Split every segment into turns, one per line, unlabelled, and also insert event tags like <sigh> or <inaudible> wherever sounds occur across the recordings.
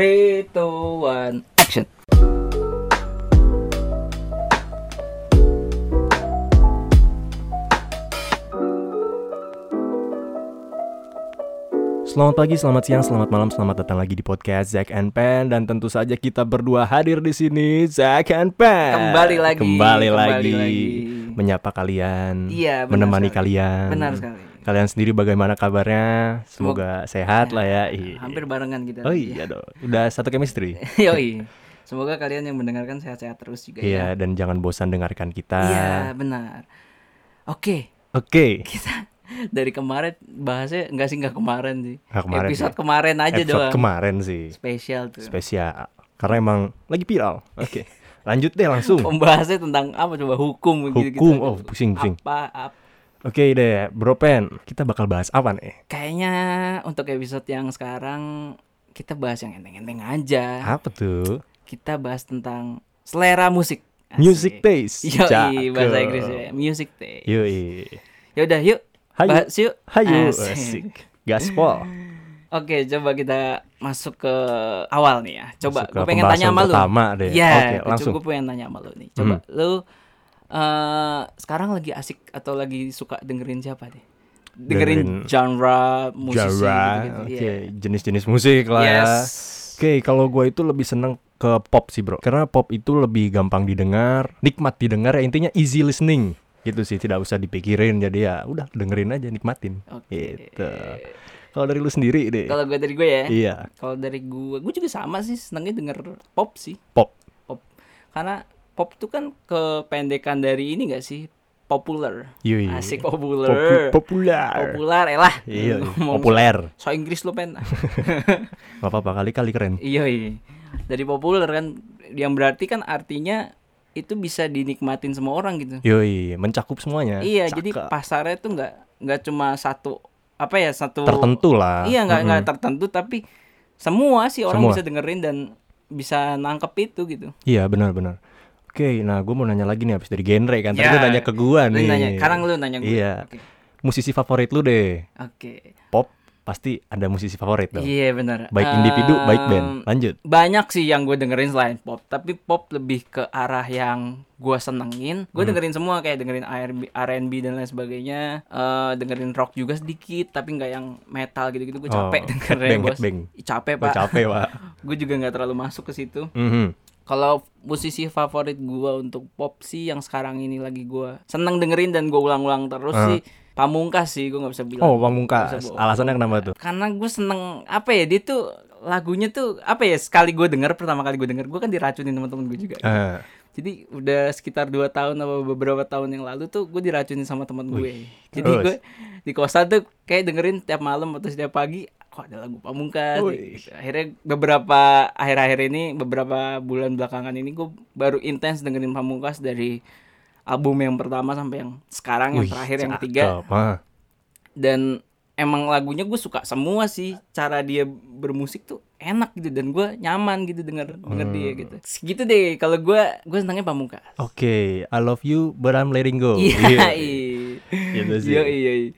3, 2, 1, action
Selamat pagi, selamat siang, selamat malam, selamat datang lagi di podcast Zack and Pen dan tentu saja kita berdua hadir di sini Zack and Pen.
Kembali lagi,
Kembali,
kembali
lagi.
lagi.
Menyapa kalian.
Iya, benar
menemani
sekali.
kalian.
Benar sekali.
Kalian sendiri bagaimana kabarnya? Semoga sehat lah ya. Iya.
Hampir barengan kita
Oh iya dong. Udah satu chemistry.
<laughs> Iya. Yoi Semoga kalian yang mendengarkan sehat-sehat terus juga ya
Iya, dan jangan bosan dengarkan kita.
Iya benar Oke
Oke.
kita <laughs> dari kemarin bahasnya nggak sih nggak kemarin sih
Nggak kemarin
Episode
sih.
kemarin aja
Episode
doang
kemarin sih.
Spesial tuh
Spesial. Karena emang lagi viral. Oke.
<laughs>
Lanjut deh langsung.
Oh, Pembahasnya tentang apa coba hukum gitu-gitu.
Hukum. Oh, pusing, pusing.
Apa, apa
Oke deh, Bro Pen, kita bakal bahas apa nih?
Kayaknya untuk episode yang sekarang kita bahas yang enteng-enteng aja.
Apa tuh?
Kita bahas tentang selera musik. Asik.
Music taste.
Yoi, bahasa
Cakep.
Inggris ya. Music taste.
Yoi.
Yaudah yuk.
Hayu.
Bahas yuk.
Hayu,
Asik.
asik. Gaspol.
Oke, coba kita masuk ke awal nih ya. Coba
Masuk ke
gue pengen
pembahasan
tanya sama lu.
pertama deh.
Iya,
Oke,
gua-
langsung. Hmm.
Gue pengen tanya sama lu nih. Coba lu eh, sekarang lagi asik atau lagi suka dengerin siapa deh? Dengerin,
Dengerin
genre musisi
Jara,
gitu-gitu.
oke,
Iya.
jenis-jenis musik lah ya.
Yes.
Oke, kalau gue itu lebih seneng ke pop sih bro Karena pop itu lebih gampang didengar, nikmat didengar ya intinya easy listening Gitu sih, tidak usah dipikirin Jadi ya udah dengerin aja, nikmatin
Oke.
Gitu Kalau dari lu sendiri deh
Kalau gue dari gue ya.
Iya,
Kalau dari gue, gue juga sama sih senengnya denger pop sih,
pop
pop. Karena pop itu kan kependekan dari ini gak sih? Popular.
Yui.
Asik
Iya. Popu-
popular.
Popular
popular, elah.
Iya,
Ngomong
populer
so Inggris lo pen. <laughs>
Gak apa-apa, kali-kali keren
iya, iya. Dari populer kan yang berarti kan artinya itu bisa dinikmatin semua orang gitu.
Yoi, mencakup semuanya
Iya,
Cakep.
jadi pasarnya tuh nggak nggak cuma satu apa ya satu
Tertentu lah
Iya nggak nggak tertentu tapi semua sih orang
Semua.
bisa dengerin dan bisa nangkep itu gitu.
Iya benar-benar. Oke, nah gue mau nanya lagi nih habis dari genre kan. Tadi
Ya.
lu nanya ke gue
Lu
nih.
nanya, sekarang lu nanya gue.
Iya.
Oke.
Musisi favorit lu deh.
Oke.
Pop pasti ada musisi favorit dong.
Iya benar.
Baik individu, baik band.
Ehm,
Lanjut.
Banyak sih yang gue dengerin selain pop, tapi pop lebih ke arah yang gue senengin.
Hmm.
Gue dengerin semua kayak dengerin R&B, R&B dan lain sebagainya. Eh, dengerin rock juga sedikit, tapi nggak yang metal gitu-gitu. Gue
Oh,
capek dengerin
headbang,
bos.
headbang.
Ih, Capek
Gue
iya, pak.
capek pak.
Gue juga nggak terlalu masuk ke situ.
Mhm.
Kalau musisi favorit gua untuk pop sih yang sekarang ini lagi gua seneng dengerin dan gua ulang-ulang terus
Ah.
sih Pamungkas sih gua nggak bisa bilang.
Oh, Pamungkas.
Bisa bohong.
Alasannya kenapa tuh?
Karena gue seneng apa ya dia tuh lagunya tuh apa ya sekali gue denger pertama kali gue denger gue kan diracunin teman-teman gue juga.
Eh,
Jadi udah sekitar dua tahun atau beberapa tahun yang lalu tuh gue diracunin sama teman gue. Jadi
terus?
gue di kosan tuh kayak dengerin tiap malam atau setiap pagi kok ada lagu pamungkas
Wih.
gitu. Akhirnya beberapa akhir-akhir ini beberapa bulan belakangan ini gue baru intens dengerin pamungkas dari album yang pertama sampai yang sekarang yang
wih,
terakhir yang
cakep,
ketiga
ah.
dan emang lagunya gue suka semua sih cara dia bermusik tuh enak gitu dan gue nyaman gitu denger denger dia
Hmm.
gitu segitu deh kalau gue gue senangnya pamungkas
Oke, I love you but I'm letting go.
Iya.
Gitu sih.
Iya, iya. iya.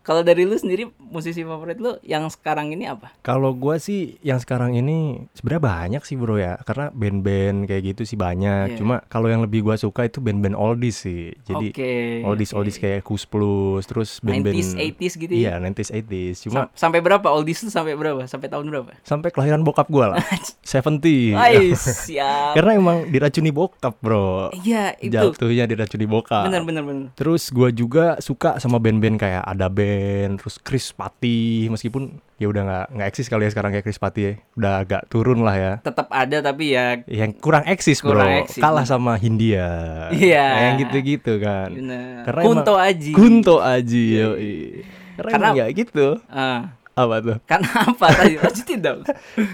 Kalau dari lu sendiri musisi favorit lu yang sekarang ini apa?
Kalau gua sih yang sekarang ini sebenarnya banyak sih bro ya karena band-band kayak gitu sih banyak.
Iya.
Cuma kalau yang lebih gua suka itu band-band oldies sih. Jadi
Oke.
oldies oldies kayak Kus Plus, terus band-band
90s, 80s gitu ya?
Iya, 90s 80s. Cuma
Sam- sampai berapa oldies lu sampai berapa? Sampai tahun berapa?
sampai kelahiran bokap gua lah. 70.
Wais, siap.
karena emang diracuni bokap, Bro.
Iya, itu.
Jatuhnya diracuni bokap.
Bener bener bener.
Terus gua juga suka sama band-band kayak ada band, terus Chris Patti meskipun ya udah nggak nggak eksis kali ya sekarang kayak Chris Patti ya. Udah agak turun lah ya.
Tetap ada tapi ya
Yang kurang eksis bro,
Kurang eksis.
kalah sama Hindia.
Iya.
Yang gitu-gitu kan.
bener.
Karena
Kunto
emang-
Aji. Iya,
Kunto Aji, yoi. Karena,
Karena-
emang ya gitu.
Ah,
Apa tuh?
karena <laughs> apa tadi? Lanjutin dong.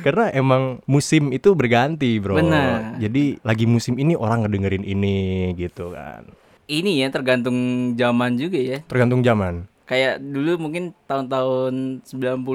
Karena emang musim itu berganti, bro.
Benar.
Jadi lagi musim ini orang ngedengerin ini gitu kan.
<laughs> Ini ya tergantung zaman juga ya.
Tergantung zaman.
Kayak dulu mungkin tahun-tahun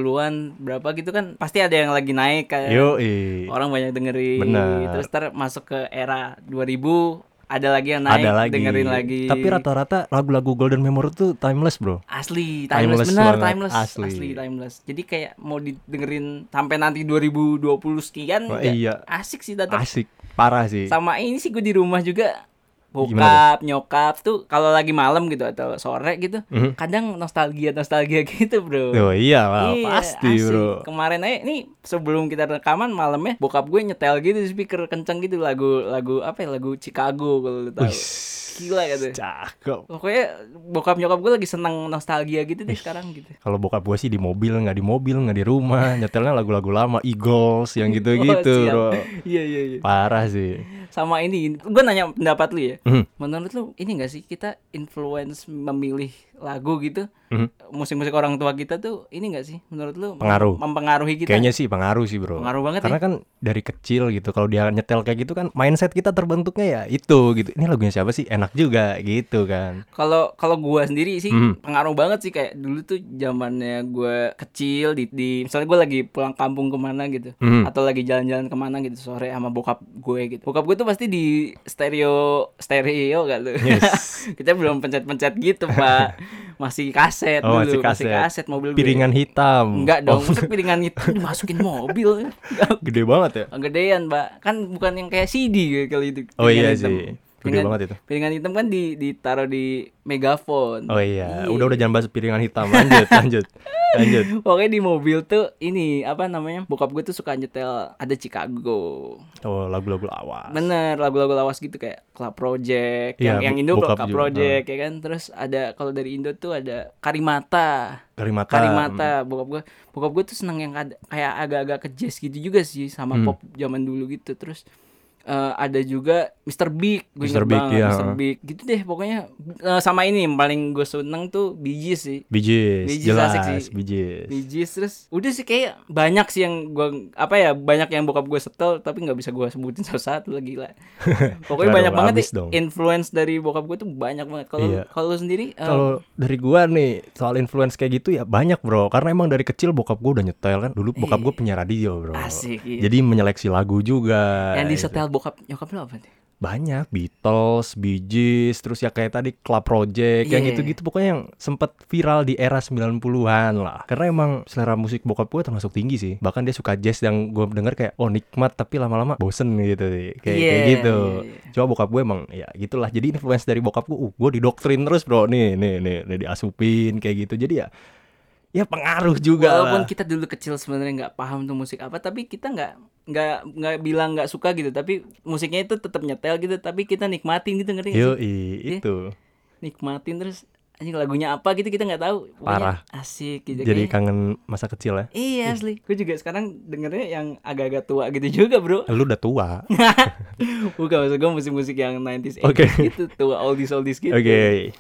90-an berapa gitu kan pasti ada yang lagi naik kayak
Yoi.
orang banyak dengerin
Iya. Benar.
terus ntar masuk ke era 2000 ada lagi yang Oh, naik
ada lagi
dengerin lagi
tapi rata-rata lagu-lagu Golden Memory tuh timeless bro
asli timeless,
Timeless
benar
banget,
timeless
asli.
asli. timeless jadi kayak mau didengerin sampai nanti 2020 sekian
Wah,
juga
iya.
asik sih tetap
asik parah sih
sama ini sih gue di rumah juga
Iya. Gimana
bokap nyokap tuh kalau lagi malam gitu atau sore gitu
Mhm.
kadang nostalgia nostalgia <laughs> gitu bro
oh iya lah,
Iya,
pasti
asik.
bro
Kemarin aja nih sebelum kita rekaman malamnya bokap gue nyetel gitu di speaker kenceng gitu lagu lagu apa ya lagu Chicago kalau lu tahu.
Wih,
Gila gitu. katanya.
cakep
Pokoknya bokap nyokap gue lagi seneng nostalgia gitu deh sekarang gitu.
kalau bokap gue sih di mobil nggak di mobil nggak di
<laughs>
rumah nyetelnya lagu-lagu lama Eagles yang gitu-gitu
Oh, siap.
bro
Iya iya iya.
parah sih
Sama ini gue nanya pendapat lu ya.
Mhm.
Menurut lu ini gak sih kita influence memilih lagu gitu?
Mhm.
Musik-musik orang tua kita tuh ini gak sih menurut lu
Pengaruh.
mempengaruhi kita?
Kayaknya sih pengaruh sih bro
Pengaruh banget ya.
Karena kan dari kecil gitu Kalau dia nyetel kayak gitu kan Mindset kita terbentuknya ya itu gitu Ini lagunya siapa sih? Enak juga gitu kan
Kalau kalau gua sendiri sih
Hmm.
pengaruh banget sih kayak dulu tuh zamannya gua kecil di, di misalnya gua lagi pulang kampung kemana gitu
Hmm.
atau lagi jalan-jalan kemana gitu sore sama bokap gue gitu bokap gue tuh pasti di stereo stereo gak lu
Yes.
<laughs> kita belum pencet-pencet gitu
<laughs>
pak masih kaset
Oh,
dulu
masih kaset.
mobil gue.
Piringan hitam
enggak dong
Oh,
masa piringan itu dimasukin mobil
Gede banget ya
gedean pak kan bukan yang kayak CD kalau itu
Oh
piringan
iya
hitam.
sih Gede
Piringan-
banget itu
piringan hitam kan di ditaruh di megafon
Oh iya Udah-udah jangan bahas piringan hitam Lanjut lanjut Lanjut
Pokoknya di mobil tuh ini apa namanya bokap gue tuh suka nyetel ada Chicago
Oh lagu-lagu lawas
bener lagu-lagu lawas gitu kayak Club Project
Iya,
yang yang
bo-
Indo Club
bokap juga, Ah.
Project ya kan terus ada kalau dari Indo tuh ada Karimata
Karimata
Karimata bokap gue bokap gue tuh seneng yang ada- kayak agak-agak ke jazz gitu juga sih sama
Hmm.
pop zaman dulu gitu terus eh, ada juga Mr. Big gue inget
Mr. Big,
banget
iya.
Mr. Big gitu deh pokoknya Eh, sama ini yang paling gue seneng tuh Bee Gees sih
Bijis
Bijis
Jelas
asik sih.
Bijis
Bee Gees, terus udah sih kayak banyak sih yang gua apa ya banyak yang bokap gue setel tapi nggak bisa gua sebutin <laughs> satu-satu lagi
<laughs>
lah. gila. Pokoknya
Nggak
banyak
dong,
banget
habis
nih
dong.
influence dari bokap gue tuh banyak banget. Kalau
Iya.
kalau lu sendiri eh,
Kalau dari gua nih soal influence kayak gitu ya banyak bro Karena emang dari kecil bokap gua udah nyetel kan Dulu bokap gua punya radio bro
Iya. asik iya.
Jadi menyeleksi lagu juga
yang di setel bokap nyokap lu apa nih?
Banyak Beatles, Bee Gees Terus ya kayak tadi Club Project Yang
Iya.
gitu-gitu pokoknya yang sempet viral di era 90an lah Karena emang selera musik bokap gue termasuk tinggi sih Bahkan dia suka jazz yang gue denger kayak Oh nikmat tapi lama-lama bosen gitu sih Kayak,
Iya,
kayak gitu
iya, iya.
Cuma bokap gue emang ya gitulah Jadi influence dari bokap gue uh, Gue didoktrin terus bro Nih nih nih, nih diasupin kayak gitu Jadi ya Ya pengaruh juga
Walaupun
lah.
kita dulu kecil sebenarnya nggak paham tuh musik apa tapi kita nggak nggak nggak bilang nggak suka gitu tapi musiknya itu tetap nyetel gitu tapi kita nikmatin gitu ngerti nggak sih?
Yoi, itu
Nikmatin terus anjing lagunya apa gitu kita nggak tahu. Pokoknya Asik gitu.
Jadi
Kayaknya-
kangen masa kecil ya
Iya asli, gue juga sekarang dengernya yang agak-agak tua gitu juga bro <laughs>
Lu udah tua
Bukan maksud gue musik-musik yang 90s, 80s
Oke.
gitu Tua oldies-oldies gitu
Oke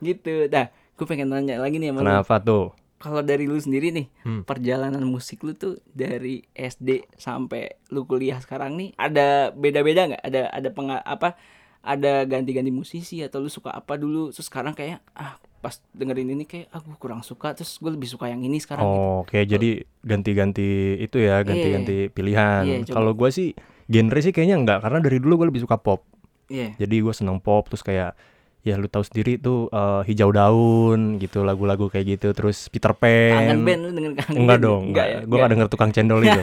Gitu, nah gue pengen nanya lagi nih sama lu
Kenapa tuh?
Kalau dari lu sendiri nih,
Hmm.
perjalanan musik lu tuh dari SD sampai lu kuliah sekarang nih Ada beda-beda nggak? Ada ada penga- apa ada ganti-ganti musisi atau lu suka apa dulu terus sekarang kayak ah pas dengerin ini kayak aku kurang suka terus gue lebih suka yang ini sekarang gitu.
Oh, oke. Jadi ganti-ganti itu ya, ganti-ganti pilihan.
Iya, coba.
Kalau gua sih genre sih kayaknya enggak karena dari dulu gue lebih suka pop.
Iya.
Jadi gue seneng pop terus kayak ya lu tahu sendiri tuh eh, hijau daun gitu lagu-lagu kayak gitu terus Peter
Kangen
Pan.
band lu dengerin kangen
Enggak
band?
dong, enggak.
ya?
Gue enggak denger tukang cendol
<laughs>
itu.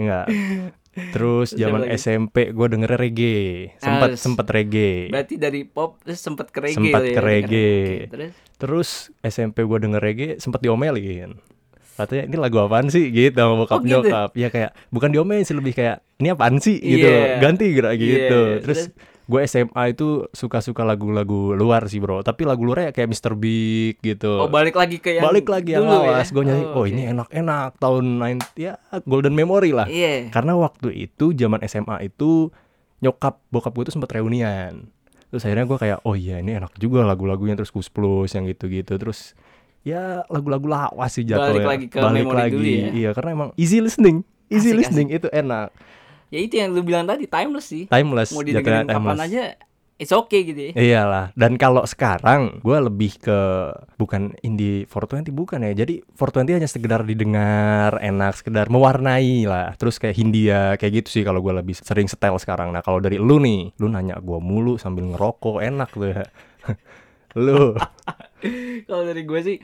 enggak.
Terus
Terus
siapa
zaman
lagi?
SMP gue denger reggae. Sempet
Ah,
sempet reggae.
Berarti dari pop terus sempat ke reggae.
Sempat
lah ya,
ke reggae.
Oke, terus
Terus SMP gua denger reggae sempet diomelin Katanya ini lagu apaan sih gitu sama
Oh,
bokap
gitu?
nyokap Ya kayak bukan diomelin sih lebih kayak ini apaan sih gitu
Iya.
Ganti
Iya,
gerak gitu
iya.
Terus gue SMA itu suka-suka lagu-lagu luar sih bro Tapi lagu luarnya kayak Mr. Big
oh
gitu
balik lagi ke yang
Balik lagi yang
dulu ya?
lawas Gue nyanyi
oke.
oh ini enak-enak tahun 90 ya golden memory lah
Iya.
karena waktu itu zaman SMA itu nyokap bokap gue tuh sempet reunian. Terus akhirnya gue kayak oh iya ini enak juga lagu-lagunya terus kus plus yang gitu-gitu terus ya lagu-lagu lawas sih jatuhnya.
Balik lagi ke memori dulu ya.
Iya karena emang easy listening, easy
Asik,
listening itu enak,
Ya itu yang lu bilang tadi timeless sih.
timeless
Mau
jatuhnya
didengerin kapan aja it's okay gitu ya.
<laughs> Iyalah. Dan kalau sekarang gue lebih ke bukan indie 420 bukan ya. Jadi 420 hanya sekedar didengar, enak, sekedar mewarnai lah. Terus kayak Hindia kayak gitu sih kalau gue lebih sering setel sekarang. Nah kalau dari lu nih, lu nanya gue mulu sambil ngerokok enak tuh ya. <laughs> lu
Kalau dari gue sih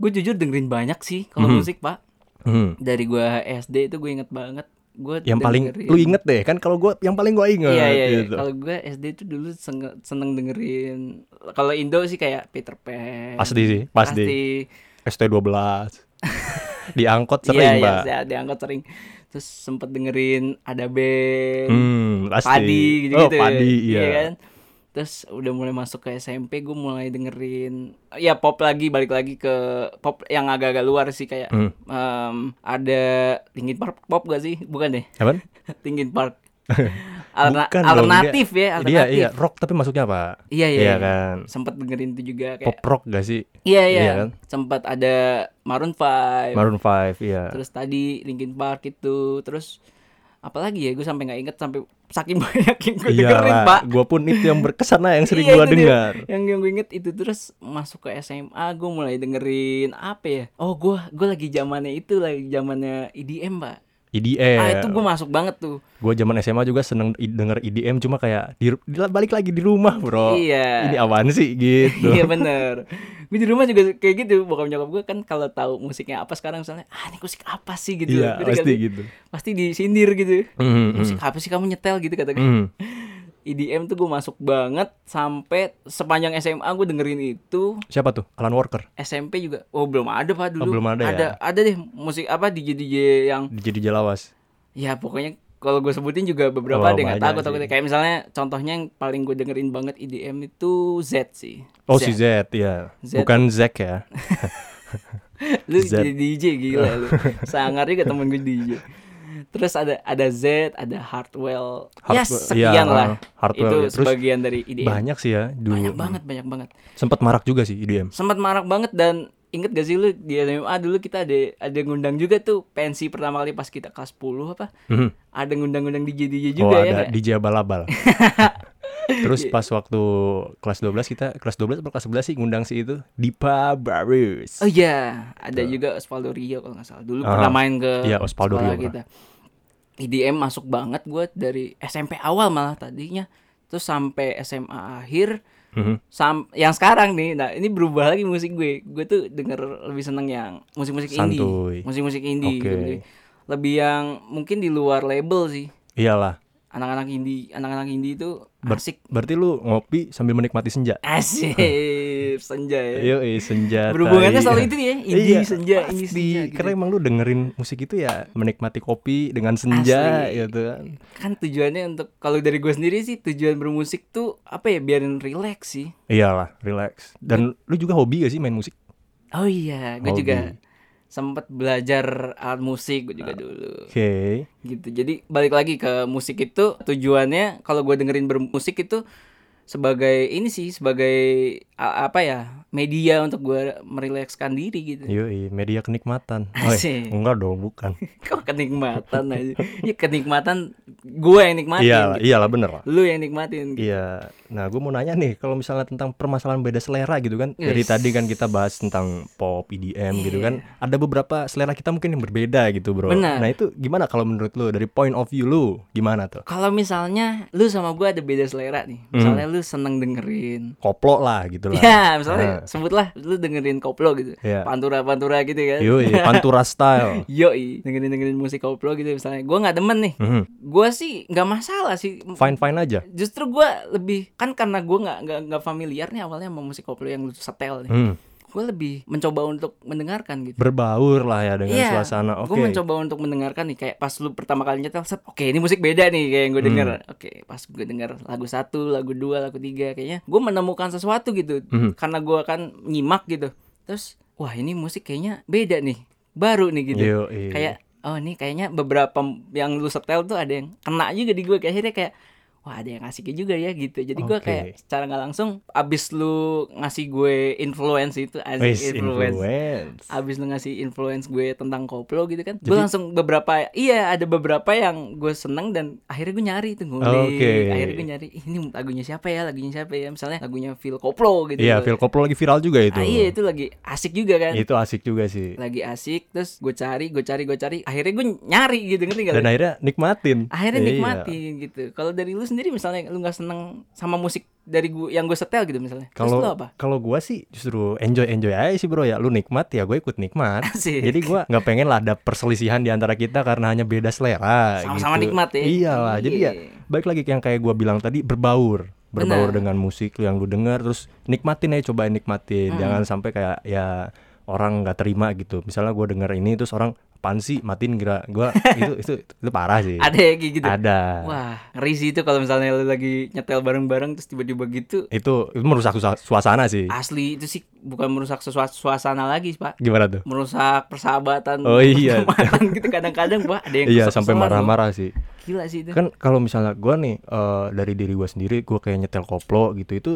gue jujur dengerin banyak sih kalau
Mhm.
musik, Pak.
Hmm.
Dari gue SD itu gue inget banget. Gue
yang paling
dengerin-
lu inget deh kan kalau gue yang paling gue inget
Iya iya iya.
gitu.
Kalau gue SD itu dulu senge- seneng dengerin kalau Indo sih kayak Peter Pan.
Pasti sih, pasti. ST12
<laughs>
diangkut
Iya,
sering
iya,
mbak.
saya diangkat sering. Terus sempet dengerin ada band
Hmm, pasti.
padi gitu-gitu.
Oh, padi, iya.
kan? Terus udah mulai masuk ke SMP gue mulai dengerin ya pop lagi balik lagi ke pop yang agak-agak luar sih kayak
Hmm.
em, ada Linkin Park pop gak sih? Bukan deh. <laughs>
Apaan?
Linkin
<laughs>
Park. Alterna-
Bukan dong,
alternatif ya,
Iya,
alternatif.
iya, rock tapi masuknya apa?
Iya, iya, iya.
kan.
Sempet dengerin itu juga kayak
Pop rock gak sih?
Iya, iya.
Iya kan?
Sempat ada Maroon 5.
Maroon 5, iya.
terus tadi Linkin Park itu terus apalagi ya gue sampai nggak inget sampai saking <laughs> banyak yang gue dengerin
Iya,
pak
gua pun itu yang berkesan lah yang
<laughs>
sering
Iya,
gua
itu dia.
dengar.
yang yang gue inget itu terus masuk ke SMA gue mulai dengerin apa ya oh gue gue lagi zamannya itu lagi zamannya EDM pak
EDM.
ah itu gue masuk banget tuh
E Gua zaman SMA juga seneng i- denger EDM cuma kayak di, di- balik lagi di rumah, Bro.
Iya.
Ini apaan sih gitu.
<laughs> Iya bener Gue di rumah juga kayak gitu Bokap nyokap gue kan kalau tahu musiknya apa sekarang misalnya Ah ini musik apa sih gitu
Iya,
Gitu
pasti
kan.
gitu.
Pasti disindir gitu
Hmm,
Musik apa sih kamu nyetel gitu kata gue
hmm.
EDM tuh gue masuk banget sampai sepanjang SMA gue dengerin itu
Siapa tuh? Alan Walker.
SMP juga oh belum ada pak dulu
Oh, belum ada ya?
ada ada deh musik apa DJ DJ yang
Jadi jelawas.
ya pokoknya kalau gue sebutin juga beberapa
Oh,
ada yang nggak
banyak
takut takut
sih.
kayak misalnya contohnya yang paling gue dengerin banget EDM itu Z sih
Oh si Z, iya.
Z.
Bukan Zack ya.
<laughs> lu
Z.
jadi DJ gila
<laughs>
lu sangar juga temen gue DJ terus ada ada Z ada Hardwell, ya
Hardwell,
sekian
iya,
lah
Hardwell,
itu
ya. Terus
sebagian dari EDM
Banyak sih ya dulu.
Iya. banyak banget banyak banget
Sempat marak juga sih E EDM.
sempat marak banget dan inget gak sih lu di SMA dulu kita ada ada ngundang juga tuh pensi pertama kali pas kita kelas 10 apa
Mhm.
ada ngundang-ngundang DJ DJ
oh
juga ya
ada
nggak?
DJ
<laughs>
abal-abal. Terus pas waktu kelas 12 kita kelas 12 atau kelas 11 sih ngundang si itu Dipa Barus.
oh iya ada juga Osvaldo Rio kalau nggak salah dulu
Aha.
pernah main ke
Iya, Osvaldo
sekolah
Rio
kita IDM masuk banget gue dari SMP awal malah tadinya terus sampai SMA akhir
Mhm.
sam yang sekarang nih nah ini berubah lagi musik gue gue tuh denger lebih seneng yang musik-musik
Santuy.
indie musik-musik indie
Oke.
gitu-gitu. lebih yang mungkin di luar label sih
Iyalah.
anak-anak indie anak-anak indie itu
Ber-
asik
Berarti lu ngopi sambil menikmati senja.
asik senja ya
Yo, senja.
<laughs> berhubungannya
Iya, tai.
selalu itu ya indie
Iya,
senja
pasti.
indie senja gitu.
Karena emang lu dengerin musik itu ya menikmati kopi dengan senja
Asli.
gitu kan.
kan tujuannya untuk kalau dari gue sendiri sih tujuan bermusik tuh apa ya biarin relax sih
Iyalah, relax. Dan lu juga hobi gak sih main musik?
oh iya gue
Hobi.
juga sempet belajar alat musik gue juga
Nah.
dulu
Oke.
gitu jadi balik lagi ke musik itu tujuannya kalau gue dengerin bermusik itu sebagai ini sih sebagai a- apa ya media untuk gue merilekskan diri gitu <laughs>
Yoi, media kenikmatan. Oi,
Asik.
enggak dong, bukan.
kok kenikmatan aja ya kenikmatan gue yang nikmatin
Iya,
gitu.
iyalah bener lah.
lu yang nikmatin gitu.
Iya. Nah, gue mau nanya nih, kalau misalnya tentang permasalahan beda selera gitu kan. Dari
Yes. Iya.
tadi kan kita bahas tentang pop, EDM gitu kan. Ada beberapa selera kita mungkin yang berbeda gitu, Bro.
Benar.
Nah, itu gimana kalau menurut lu dari point of view lu gimana tuh?
kalau misalnya lu sama gue ada beda selera nih misalnya lu seneng dengerin
Koplo lah gitu Hmm. lah.
ya misalnya sebutlah lu dengerin koplo gitu
Iya.
pantura pantura gitu kan <laughs>
Yoi, Pantura style.
Yoi, dengerin dengerin musik koplo gitu misalnya gue nggak demen nih
Mhm.
gue sih nggak masalah sih
Fine-fine aja.
justru gue lebih kan karena gue nggak nggak nggak familiar nih awalnya sama musik koplo yang lu setel nih
Hmm.
gue lebih mencoba untuk mendengarkan gitu
Berbaur lah ya dengan
Iya,
suasana. Oke.
Gue mencoba untuk mendengarkan nih kayak pas lu pertama kali nyetel set, oke ini musik beda nih kayak
Hmm.
yang gue denger. Oke, pas gue denger lagu satu, lagu dua, lagu tiga kayaknya gue menemukan sesuatu gitu.
Hmm.
Karena gue kan nyimak gitu. Terus wah ini musik kayaknya beda nih. Baru nih gitu.
Yoi.
Kayak oh nih kayaknya beberapa yang lu setel tuh ada yang kena juga di gue kayak akhirnya kayak wah ada yang ngasih juga ya gitu jadi gua
Oke.
kayak secara nggak langsung abis lu ngasih gue influence itu
Wis,
asik influence
influence.
abis lu ngasih influence gue tentang koplo gitu kan gue
Jadi-
langsung beberapa iya ada beberapa yang gue seneng dan akhirnya gue nyari tuh ngulik
Oke.
akhirnya gue nyari "Ih, ini lagunya siapa ya lagunya siapa ya misalnya lagunya Phil Koplo gitu
Iya, Phil Koplo lagi viral juga itu.
Ah, iya itu lagi asik juga kan
Itu asik juga sih.
lagi asik terus gue cari gue cari gue cari akhirnya gue nyari gitu ngerti gak
Dan
lu?
akhirnya nikmatin.
akhirnya
Iya.
nikmatin gitu kalau dari lu sendiri misalnya lu nggak seneng sama musik dari gue yang gue setel gitu misalnya terus
Kalau
lu apa
kalau gua sih justru enjoy enjoy aja sih bro ya. Lu nikmat ya gue ikut nikmat.
Asik.
Jadi gua nggak pengen lah ada perselisihan di antara kita karena hanya beda selera.
Sama-sama
gitu.
nikmat ya.
Iyalah. Jadi ya
Iya.
baik lagi yang kayak gua bilang tadi berbaur berbaur
Benar.
dengan musik yang lu denger terus nikmatin aja cobain nikmatin jangan sampai kayak ya orang nggak terima gitu misalnya gua denger ini terus orang apaan sih matiin gerak gua <laughs> itu itu itu parah sih
ada ya kayak gitu
iya. ada
Wah, ngeri sih itu kalau misalnya lu lagi nyetel bareng-bareng terus tiba-tiba gitu.
itu itu merusak susa- suasana sih
Asli itu sih bukan merusak sesua- suasana lagi, Pak.
gimana tuh
Merusak persahabatan.
Oh,
<laughs>
iya.
pertemanan gitu kadang-kadang, Pak, ada yang
iya
kesel-keselan,
sampai
loh.
marah-marah sih
Gila sih itu.
kan kalau misalnya gua nih eh, dari diri gua sendiri gua kayak nyetel koplo gitu itu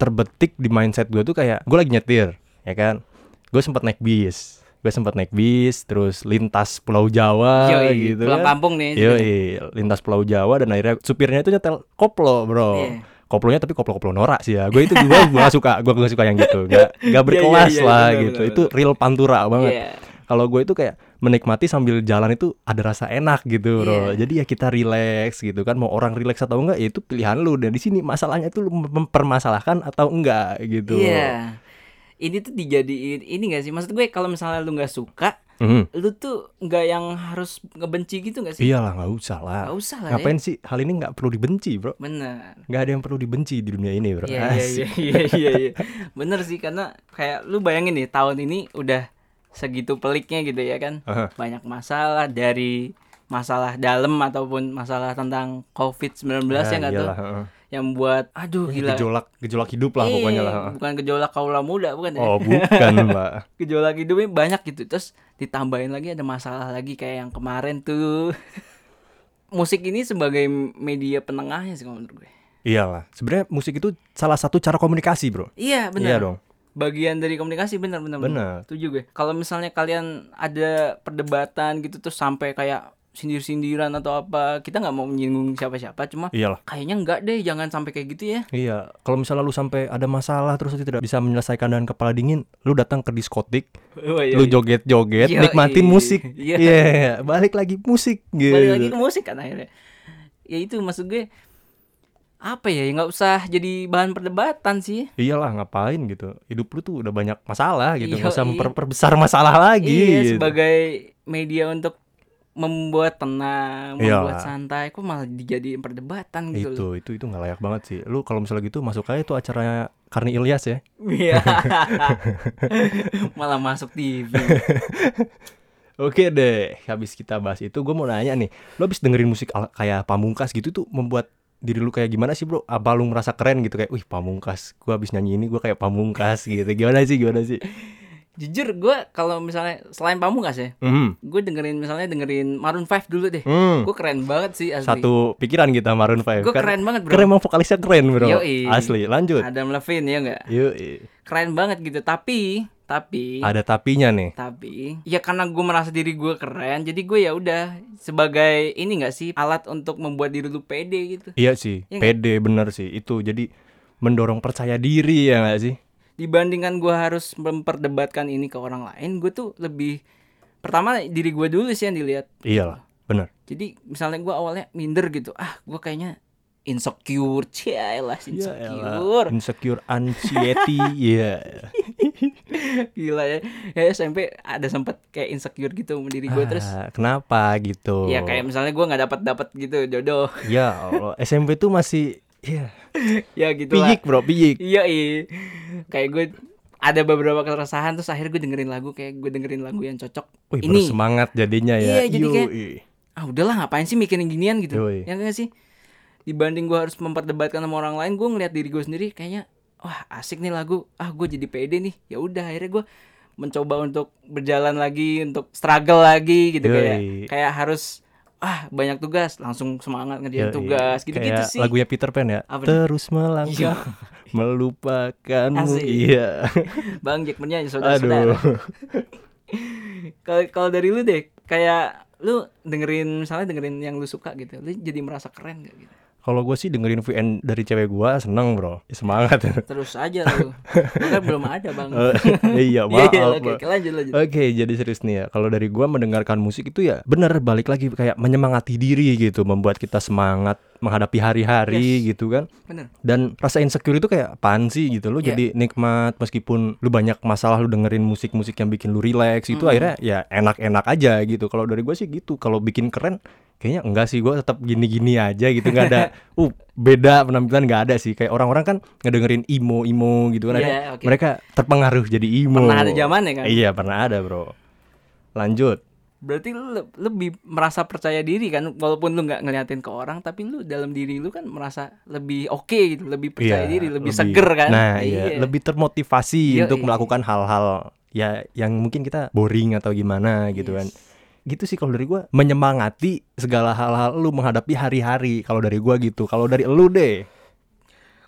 terbetik di mindset gua tuh kayak gua lagi nyetir ya kan gue sempat naik bis gue sempat naik bis terus lintas Pulau Jawa
Yoi,
gitu
pulang
kan.
kampung nih. gitu.
Yoi, lintas Pulau Jawa dan akhirnya supirnya itu nyetel koplo bro
Iya.
koplonya tapi koplo-koplo norak sih ya gue itu gue gak suka gue gak suka yang gitu gak gak berkelas
iya, iya,
lah
benar,
gitu
benar,
itu real pantura banget
Iya.
kalau gue itu kayak menikmati sambil jalan itu ada rasa enak gitu bro.
Iya.
Jadi ya kita relax gitu kan. Mau orang relax atau enggak ya itu pilihan lu. Dan di sini masalahnya tuh lu mem- mempermasalahkan atau enggak gitu.
Iya. Ini tuh dijadiin ini gak sih? Maksud gue kalau misalnya lu nggak suka,
Mhm.
lu tuh nggak yang harus ngebenci gitu gak sih?
Iyalah nggak usah lah.
Nggak usah lah ya.
Iya. Ngapain sih hal ini nggak perlu dibenci bro?
Bener.
Nggak ada yang perlu dibenci di dunia ini bro. Ah,
Iya iya
Asik.
iya iya iya. Bener sih karena kayak lu bayangin nih tahun ini udah segitu peliknya gitu ya kan.
Aha.
Banyak masalah dari masalah dalam ataupun masalah tentang COVID-19
Ah,
ya nggak tuh
iyalah, heeh.
yang buat aduh gila.
Gejolak gejolak hidup lah pokoknya
Iya,
lah. heeh.
Bukan gejolak kaula muda bukan ya.
Oh bukan mbak.
Gejolak hidupnya banyak gitu. Terus ditambahin lagi ada masalah lagi kayak yang kemarin tuh. <laughs> Musik ini sebagai media penengahnya sih kalau menurut gue.
Iyalah. Iya Sebenarnya musik itu salah satu cara komunikasi bro.
Iya benar.
Iya dong.
bagian dari komunikasi benar benar
Benar.
setuju gue kalau misalnya kalian ada perdebatan gitu terus sampai kayak sindir sindiran atau apa kita nggak mau menyinggung siapa siapa cuma
Iyalah.
kayaknya nggak deh jangan sampai kayak gitu <laughs> ya
Iya, kalau misalnya lu sampai ada masalah terus lu tidak bisa menyelesaikan dengan kepala dingin, lu datang ke diskotik,
Oh, iya.
lu joget-joget,
Yoi.
nikmatin musik.
<laughs> Iya.
Iya, balik lagi musik gitu.
balik lagi ke musik kan akhirnya ya itu maksud gue apa ya ya nggak usah jadi bahan perdebatan sih
Iyalah, ngapain gitu. Hidup lu tuh udah banyak masalah gitu, nggak usah
Yoi.
memperbesar masalah lagi.
iya
gitu.
sebagai media untuk membuat tenang membuat
Iyalah.
santai kok malah dijadiin perdebatan gitu loh. <laughs>
Iya. Itu, itu itu nggak layak banget sih. Lu kalau misalnya gitu masuk aja tuh acaranya Karni Ilyas ya.
Iya. Malah masuk TV.
Oke deh, habis kita bahas itu gue mau nanya nih, lu habis dengerin musik ala- kayak Pamungkas gitu tuh membuat diri lu kayak gimana sih bro? Apa lu merasa keren gitu kayak, wih Pamungkas, gue habis nyanyi ini gue kayak Pamungkas gitu, gimana sih, gimana sih?
Jujur gue kalau misalnya selain Pamungkas ya,
Hmm,
gue dengerin misalnya dengerin Maroon 5 dulu deh.
hmm.
Gue keren banget sih asli.
Satu pikiran kita Maroon 5
Gue
Kan-
keren banget bro.
Keren emang vokalisnya keren bro
Yoi.
Asli, lanjut
Adam Levine ya enggak?
Yoi.
Keren banget gitu. Tapi tapi
Ada tapinya nih
tapi ya karena gue merasa diri gue keren, jadi gue ya udah sebagai ini enggak sih alat untuk membuat diri lu pede gitu.
Iya sih,
Iya nggak?
pede bener sih Itu jadi mendorong percaya diri ya gak sih?
dibandingkan gue harus memperdebatkan ini ke orang lain, gue tuh lebih pertama diri gue dulu sih yang dilihat.
Iyalah, bener
Jadi misalnya gua awalnya minder gitu, ah gua kayaknya insecure, cialah
Iyalah,
insecure, <laughs>
Insecure, anxiety, <laughs> iya
gila ya. ya SMP ada sempet kayak insecure gitu sama diri gue terus.
Ah, kenapa gitu
Ya kayak misalnya gua nggak dapat dapat gitu jodoh, <laughs>
ya Allah SMP tuh masih ya
ya gitu lah.
piyik bro piyik
Iya iya, kayak gue ada beberapa keresahan terus akhirnya gue dengerin lagu kayak gue dengerin lagu yang cocok.
Wih,
Ini.
bersemangat jadinya ya
Iya, jadi kayak-
Yoi.
Ah udahlah ngapain sih mikirin ginian gitu,
Yoi.
ya nggak sih? Dibanding gua harus memperdebatkan sama orang lain, gue ngeliat diri gue sendiri kayaknya wah asik nih lagu, ah gue jadi pede nih. Ya udah akhirnya gue mencoba untuk berjalan lagi, untuk struggle lagi gitu
Yoi.
kayak kayak harus ah banyak tugas langsung semangat ngerjain
Yoi.
tugas gitu-gitu
Ya, iya. Kayak
sih
lagunya Peter Pan ya
Apa tuh?
terus melangkah
Iya.
<laughs> melupakanmu
Asik.
iya <laughs>
Bang Jackman-nya saudara-saudara
aduh
<laughs> kalau kalau dari lu deh kayak lu dengerin misalnya dengerin yang lu suka gitu lu jadi merasa keren gak gitu
kalau gue sih dengerin VN dari cewek gue seneng bro Ya, semangat <laughs>
terus aja lu kan belum ada bang
Eh,
<laughs> Iya,
iya maaf Eh,
iya,
Bang.
oke oke, lanjut lanjut
Oke, jadi serius nih ya. Kalau dari gua mendengarkan musik itu ya bener balik lagi kayak menyemangati diri gitu, membuat kita semangat menghadapi hari-hari
Yes.
gitu kan.
bener
Dan rasa insecure itu kayak apaan sih gitu. Lu
Iya.
jadi nikmat meskipun lu banyak masalah lu dengerin musik-musik yang bikin lu relax itu
Mm.
akhirnya ya enak-enak aja gitu. Kalau dari gua sih gitu. Kalau bikin keren kayaknya enggak sih gua tetap gini-gini aja gitu nggak
<laughs>
ada uh beda penampilan nggak ada sih kayak orang-orang kan ngedengerin emo emo gitu kan akhirnya
Iya, oke.
mereka terpengaruh jadi emo
pernah ada zamannya kan
Iya pernah ada bro Lanjut
berarti lu le- lebih merasa percaya diri kan walaupun lu nggak ngeliatin ke orang tapi lu dalam diri lu kan merasa lebih oke gitu lebih percaya
Iya,
diri lebih, seger kan
Nah iya lebih termotivasi
Yoi.
Untuk melakukan hal-hal Ya yang mungkin kita boring atau gimana gitu kan Gitu sih kalau dari gua Menyemangati segala hal-hal lu menghadapi hari-hari Kalau dari gua gitu Kalau dari lu deh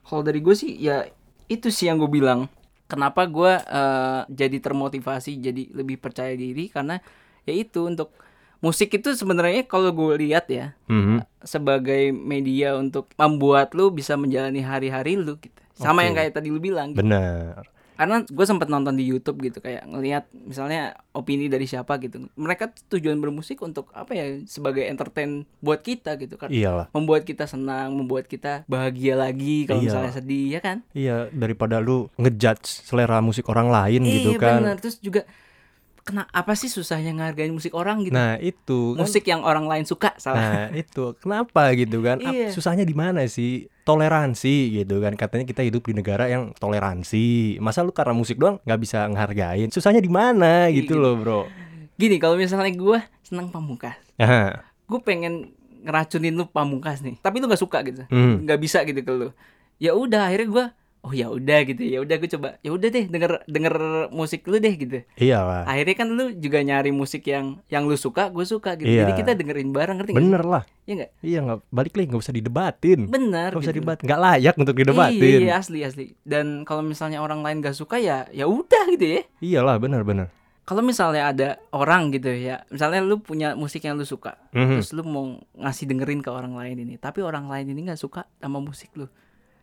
kalau dari gue sih ya itu sih yang gue bilang kenapa gue eh, jadi termotivasi jadi lebih percaya diri karena ya itu untuk musik itu sebenarnya kalau gue lihat ya
Mhm.
sebagai media untuk membuat lu bisa menjalani hari-hari lu gitu sama
Oke.
yang kayak tadi lu bilang gitu.
Bener
karena gue sempat nonton di YouTube gitu kayak ngelihat misalnya opini dari siapa gitu mereka tuh tujuan bermusik untuk apa ya sebagai entertain buat kita gitu kan
Iyalah
membuat kita senang membuat kita bahagia lagi kalau
Iya.
misalnya sedih ya kan
Iya daripada lu ngejudge selera musik orang lain gitu
Iya,
kan
benar. Terus juga kena apa sih susahnya ngehargain musik orang gitu?
Nah itu kan
musik yang orang lain suka salah. <laughs>
Nah itu kenapa gitu kan Ap-
Iya.
Susahnya di mana sih Toleransi gitu kan Katanya kita hidup di negara yang toleransi Masa lu karena musik doang nggak bisa ngehargain Susahnya di mana
Iya,
gitu
gitu.
loh bro
Gini kalau misalnya gua senang pamungkas,
Aha.
gue pengen ngeracunin lu pamungkas nih, tapi lu nggak suka gitu,
Hmm.
nggak bisa gitu ke lu. Ya udah akhirnya gua oh ya udah gitu, ya udah gue coba, ya udah deh denger denger musik lu deh gitu.
Iya lah
Akhirnya kan lu juga nyari musik yang yang lu suka, gue suka gitu.
Iya.
Jadi kita dengerin bareng ngerti nggak sih?
Bener lah
Iya nggak?
Iya nggak balik lagi nggak usah didebatin
Bener.
Nggak usah
gitu.
didebat nggak layak untuk
Iya,
didebatin
iya, asli asli. Dan kalau misalnya orang lain gak suka ya ya udah gitu ya.
Iyalah bener-bener
Kalau misalnya ada orang gitu ya, misalnya lu punya musik yang lu suka,
Mhm.
terus lu mau ngasih dengerin ke orang lain ini, tapi orang lain ini nggak suka sama musik lu.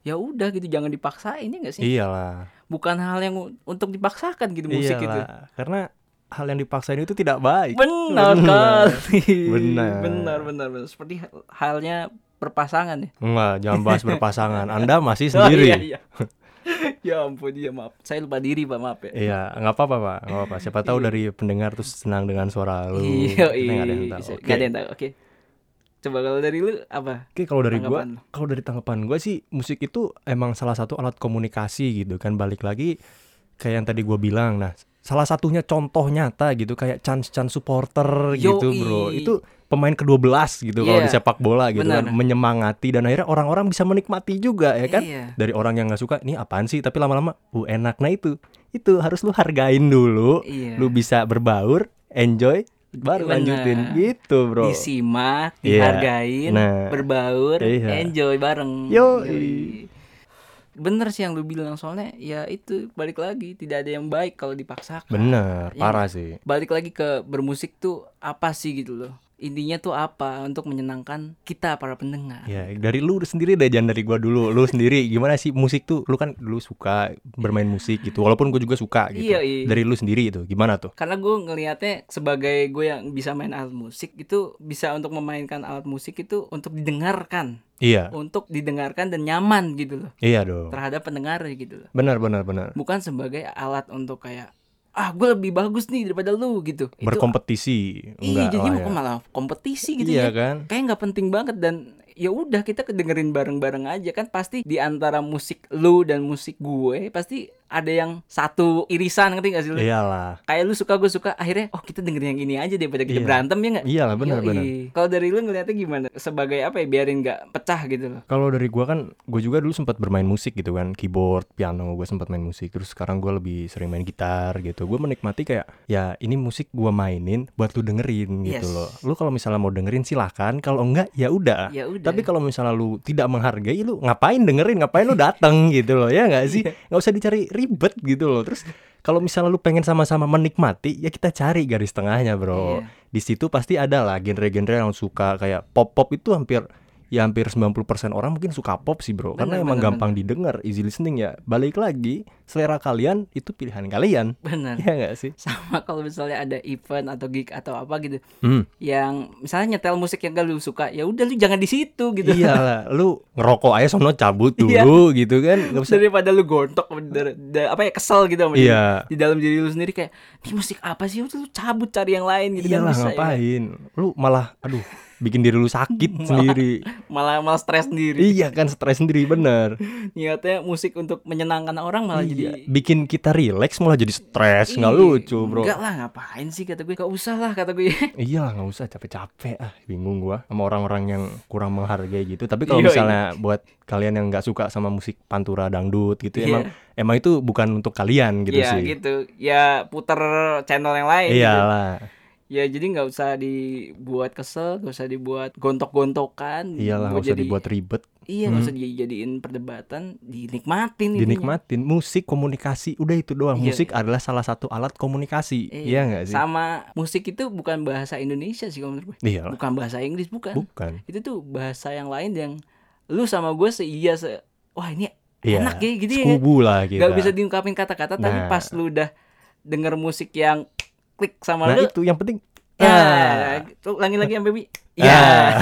Ya udah gitu, jangan dipaksain ya
Iya.
nggak sih?
Iyalah
Bukan hal yang u- untuk dipaksakan gitu musik itu.
Iyalah. Karena hal yang dipaksain itu tidak baik
Benar
Benar.
kali.
Benar.
Benar, benar, benar. Seperti hal- halnya berpasangan ya.
Enggak jangan bahas
<laughs>
berpasangan Anda masih
Oh,
sendiri
iya, iya. ya ampun, iya maaf. Saya lupa diri, Pak, maaf ya.
Iya, nggak apa-apa pak, nggak apa-apa. Siapa tahu dari pendengar terus senang dengan suara lu.
Iya,
Kita nggak ada yang tahu.
bisa.
Oke,
Nggak ada yang tahu. Oke. Coba kalau dari lu apa?
Oke, kalau dari gua,
Tanggapan lu.
kalau dari tanggapan gua sih musik itu emang salah satu alat komunikasi gitu kan. Balik lagi kayak yang tadi gua bilang. Nah, salah satunya contoh nyata gitu kayak chance chance supporter gitu
Yoi.
bro. Itu pemain ke-12 gitu kalau
Iya.
di sepak bola gitu
Benar.
kan menyemangati dan akhirnya orang-orang bisa menikmati juga ya kan.
Iya.
Dari orang yang nggak suka, ini apaan sih? Tapi lama-lama, uh enak. Nah itu, itu harus lu hargain dulu.
Iya.
lu bisa berbaur, enjoy, baru
Bener.
lanjutin gitu, bro.
Disimak,
Iya.
dihargain,
Nah.
berbaur,
Iya.
enjoy bareng.
Yoi.
Bener sih yang lu bilang soalnya ya itu balik lagi tidak ada yang baik kalau dipaksakan.
Bener,
Iya.
parah sih.
Balik lagi ke bermusik tuh apa sih gitu loh. Intinya tuh apa untuk menyenangkan kita para pendengar.
Ya, dari lu sendiri deh, jangan dari gua dulu. Lu sendiri gimana sih musik tuh? Lu kan dulu suka bermain musik gitu. Walaupun gua juga suka gitu.
Iya, iya.
Dari lu sendiri itu gimana tuh?
Karena gue ngelihatnya sebagai gue yang bisa main alat musik itu bisa untuk memainkan alat musik itu untuk didengarkan,
Iya.
untuk didengarkan dan nyaman gitu loh
Iya dong.
terhadap pendengar gitu loh.
Benar, benar, benar.
Bukan sebagai alat untuk kayak ah gue lebih bagus nih daripada lu gitu. Itu
Berkompetisi.
iya
Enggak
jadi mau
lah ya.
malah kompetisi gitu ya.
Iya kan?
Kayak nggak penting banget dan ya udah kita kedengerin bareng-bareng aja kan pasti di antara musik lu dan musik gue pasti ada yang satu irisan ngerti gak sih lu?
Iya. iyalah
Kayak lu suka gue suka akhirnya oh kita dengerin yang ini aja daripada kita
Iya.
berantem ya nggak?
iyalah
Yoi.
benar-benar
Kalau dari lu ngeliatnya gimana? Sebagai apa ya biarin nggak pecah gitu loh.
Kalau dari gua kan, gue juga dulu sempat bermain musik gitu kan, keyboard, piano, gue sempat main musik. Terus sekarang gua lebih sering main gitar gitu. Gue menikmati kayak, ya ini musik gua mainin buat lu dengerin gitu
Yes.
loh. Lu kalau misalnya mau dengerin silahkan, kalau enggak ya udah.
Ya udah.
Tapi kalau misalnya lu tidak menghargai, lu ngapain dengerin, ngapain lu datang
<laughs>
gitu loh, ya nggak sih?
Iya.
Nggak usah dicari ribet gitu loh. Terus kalau misalnya lu pengen sama-sama menikmati, ya kita cari garis tengahnya bro.
Iya.
Di situ pasti ada lah genre-genre yang suka kayak pop-pop itu hampir ya hampir 90% orang mungkin suka pop sih bro
Bener,
karena emang
bener,
gampang didengar easy listening ya balik lagi selera kalian itu pilihan kalian <laughs>
Benar.
ya nggak sih
Sama kalau misalnya ada event atau gig atau apa gitu
hmm.
yang misalnya nyetel musik yang gak lu suka, ya udah lu jangan di situ gitu.
Iya, iyalah lu ngerokok aja sono cabut
Iya.
dulu gitu kan nggak usah
daripada lu gontok bener- da- apa ya kesel gitu sama
Iya.
diri- di dalam diri lu sendiri kayak ini musik apa sih udah lu cabut cari yang lain gitu
iyalah
kan bisa ya.
ngapain lu malah aduh bikin diri lu
<laughs>
sakit <laughs> sendiri
malah malah stres sendiri
iya kan stres sendiri bener
niatnya musik untuk menyenangkan orang malah jadi
Iya, bikin kita relax malah jadi stres nggak
Ih,
lucu bro
enggak lah ngapain sih kata gue gak usah lah kata gue
Iya lah nggak usah capek-capek ah bingung gua sama orang-orang yang kurang menghargai gitu. Tapi kalau
Yoi.
misalnya buat kalian yang nggak suka sama musik pantura dangdut gitu
Iya.
emang emang itu bukan untuk kalian <laughs> gitu
ya
sih. Iya.
gitu ya puter channel yang lain gitu.
Iyalah,
ya jadi nggak usah dibuat kesel gak usah dibuat gontok-gontokan
iyalah nggak
buat
usah
jadi-
dibuat ribet,
iya
Hmm.
nggak usah dijadiin perdebatan dinikmatin ininya.
dinikmatin. Musik komunikasi udah itu doang.
Iya.
Musik adalah salah satu alat komunikasi. Iya nggak sih?
Sama musik itu bukan bahasa Indonesia sih kalau menurut gue.
Iyalah,
Bukan bahasa Inggris bukan.
bukan.
Itu tuh bahasa yang lain yang lu sama gue seia se wah ini
Iya.
enak ya gitu ya.
Sekubu lah kita.
Gak bisa diungkapin kata-kata tapi
Nah.
pas lu udah denger musik yang klik sama
Nah
lu
itu Nah. yang penting. Ah.
ya tuh lagi-lagi yang baby <laughs> ya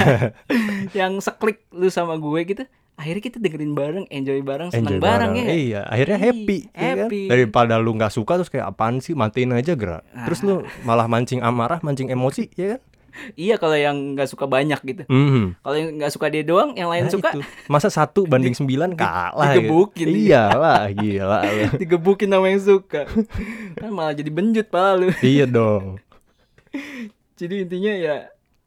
yang seklik lu sama gue gitu akhirnya kita dengerin bareng enjoy bareng senang
enjoy
bareng,
bareng.
ya nggak?
Iya, akhirnya
Iya,
happy, ya kan?
happy.
Daripada lu nggak suka terus kayak apaan sih, matiin aja gerak.
Ah.
Terus lu malah mancing amarah, mancing emosi, ya kan?
iya kalau yang nggak suka banyak gitu
Mhm.
kalau yang nggak suka dia doang yang lain
Nah,
suka
itu. Masa satu banding sembilan kalah. ya?
digebukin.
Iyalah, gila lu.
<laughs> digebukin sama yang suka <laughs> kan malah jadi benjut pala lu
iya dong.
jadi intinya ya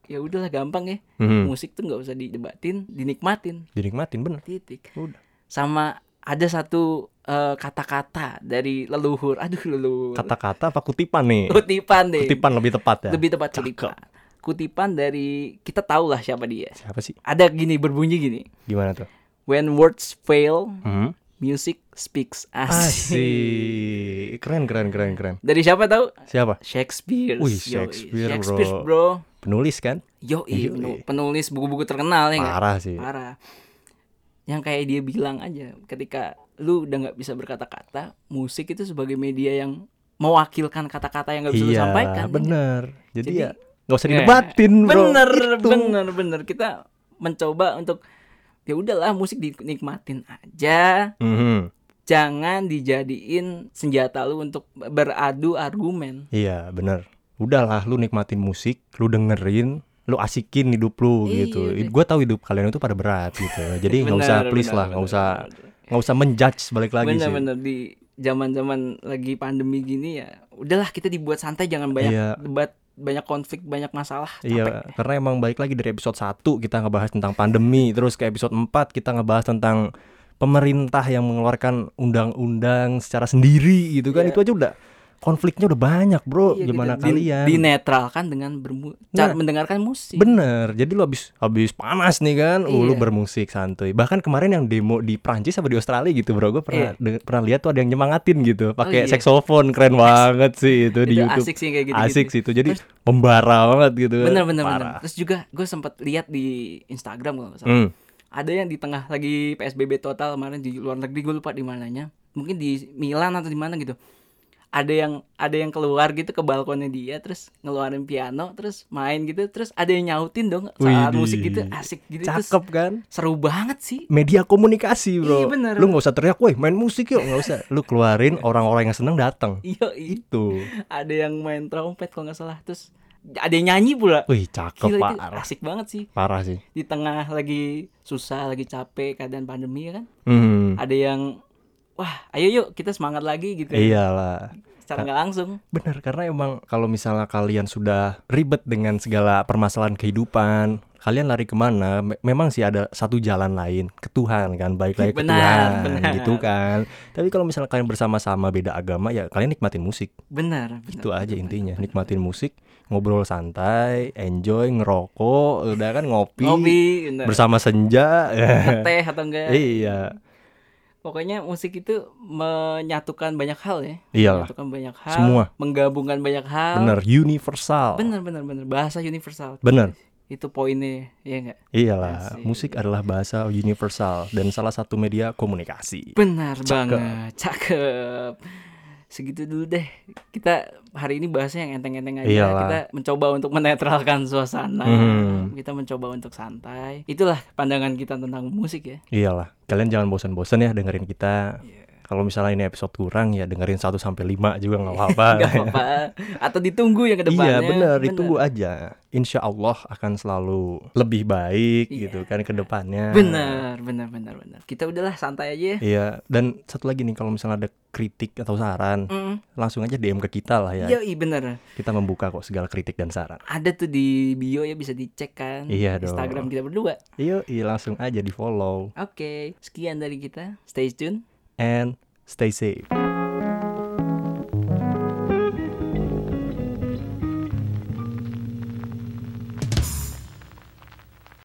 ya udahlah gampang ya
Mhm.
musik tuh nggak usah didebatin dinikmatin
Dinikmatin bener.
titik
Udah.
sama ada satu eh, kata-kata dari leluhur aduh leluhur
Kata-kata apa kutipan nih?
kutipan deh
Kutipan lebih tepat ya.
lebih tepat
Cakep.
kutipan kutipan dari kita tahu lah siapa dia
Siapa sih?
ada gini berbunyi gini
Gimana tuh?
when words fail
Hmm?
music speaks asik
Asik. Keren, keren, keren, keren.
dari siapa tahu
Siapa?
Shakespeare
Wih,
Yoi.
Shakespeare,
Shakespeare
bro.
bro.
Penulis kan?
Yoi,
Yoi.
penu- penulis buku-buku terkenal ya nggak?
Parah sih.
Parah. Yang kayak dia bilang aja, ketika lu udah nggak bisa berkata-kata, musik itu sebagai media yang mewakilkan kata-kata yang nggak bisa
iya,
lu sampaikan. ya nggak?
bener. Jadi,
Jadi-
ya nggak usah
Iya.
didebatin, bro. Gitu.
Bener,
Itu.
bener, bener. Kita mencoba untuk ya udahlah musik dinikmatin aja,
Mhm.
jangan dijadiin senjata lu untuk beradu argumen.
Iya, bener. Udahlah, lu nikmatin musik, lu dengerin, lu asikin hidup lu
Iya,
gitu.
iya.
Gue tahu hidup kalian itu pada berat gitu. Jadi nggak usah,
<laughs> Bener,
please
bener,
lah, nggak
bener,
usah,
bener.
nggak usah menjudge balik lagi sih.
Bener-bener di zaman-zaman lagi pandemi gini ya, udahlah kita dibuat santai jangan banyak
Iya.
debat, banyak konflik, banyak masalah.
Iya,
Capek.
karena emang balik lagi dari episode 1 kita ngebahas tentang pandemi, terus ke episode 4 kita ngebahas tentang pemerintah yang mengeluarkan undang-undang secara sendiri gitu kan.
Iya.
Itu aja udah konfliknya udah banyak,
Iya,
Bro. Oh, Gimana
gitu. Di-
kalian?
Dinetralkan dengan bermu- cara
Nah.
mendengarkan musik.
Bener, jadi lu habis habis panas nih kan, uh, lu
Iya.
bermusik santuy. Bahkan kemarin yang demo di Prancis sama di Australia gitu, bro, gue pernah de- pernah lihat tuh ada yang nyemangatin gitu,
iya.
pakai saxophone keren banget sih itu, di
Itu
YouTube.
asik sih kayak gitu.
asik sih itu, jadi pembara banget gitu. kan.
Bener bener bener.
Parah.
Terus juga gue sempat lihat di Instagram kalau nggak salah.
Hmm.
Ada yang di tengah lagi PSBB total kemarin di luar negeri gue lupa di mananya. Mungkin di Milan atau di mana gitu. Ada yang ada yang keluar gitu ke balkonnya dia terus ngeluarin piano terus main gitu terus ada yang nyautin dong saat
Widih.
musik gitu asik gitu terus
Cakep kan?
seru banget sih. <laughs>
Media komunikasi, bro.
Iya, bener.
Lu nggak usah teriak, woi main musik yuk, nggak usah. Lu
<laughs>
keluarin orang-orang yang seneng datang.
Iya,
Itu,
ada yang main trompet kalau nggak salah terus ada yang nyanyi pula.
wih cakep
Gila itu
parah,
asik banget sih.
parah sih.
Di tengah lagi susah, lagi capek keadaan pandemi ya kan.
Hmm.
Ada yang wah ayo yuk kita semangat lagi gitu
Iya. Iyalah.
secara nggak langsung
Bener, karena emang kalau misalnya kalian sudah ribet dengan segala permasalahan kehidupan, kalian lari kemana? Me- memang sih ada satu jalan lain, ke Tuhan kan, baik lagi ke
Benar,
Tuhan,
benar.
gitu kan. Tapi kalau misalnya kalian bersama-sama beda agama, ya kalian nikmatin musik,
benar benar.
itu aja intinya, nikmatin musik, ngobrol santai, enjoy, ngerokok, udah kan ngopi,
ngopi benar. <laughs>
bersama senja,
teh atau enggak
iya,
pokoknya musik itu menyatukan banyak hal ya
iyalah,
menyatukan banyak hal
semua,
menggabungkan banyak hal
bener, universal,
benar benar benar bahasa universal
bener.
itu poinnya ya enggak
Iyalah,
Asik.
musik adalah bahasa universal dan salah satu media komunikasi.
benar
Cakep.
banget cakep segitu dulu deh kita hari ini bahasnya yang enteng-enteng aja
Iyalah.
kita mencoba untuk menetralkan suasana
Hmm.
kita mencoba untuk santai itulah pandangan kita tentang musik ya
Iyalah, kalian jangan bosan-bosan ya dengerin kita.
Iya.
Kalau misalnya ini episode kurang ya dengerin 1 sampai 5 juga
<laughs>
nggak apa-apa.
nggak apa-apa atau ditunggu ya yang kedepannya
Iya benar, ditunggu aja. Insya Allah akan selalu lebih baik
Iya.
gitu kan ke depannya.
benar benar benar benar kita udahlah santai aja ya
Iya, dan satu lagi nih kalau misalnya ada kritik atau saran,
Mm.
langsung aja DM ke kita lah ya.
Yoi, bener
Kita membuka kok segala kritik dan saran.
Ada tuh di bio ya bisa dicek kan
Iya dong.
Instagram kita berdua
Yuk, iya, langsung aja di follow
Oke, sekian dari kita Stay tune
and stay safe.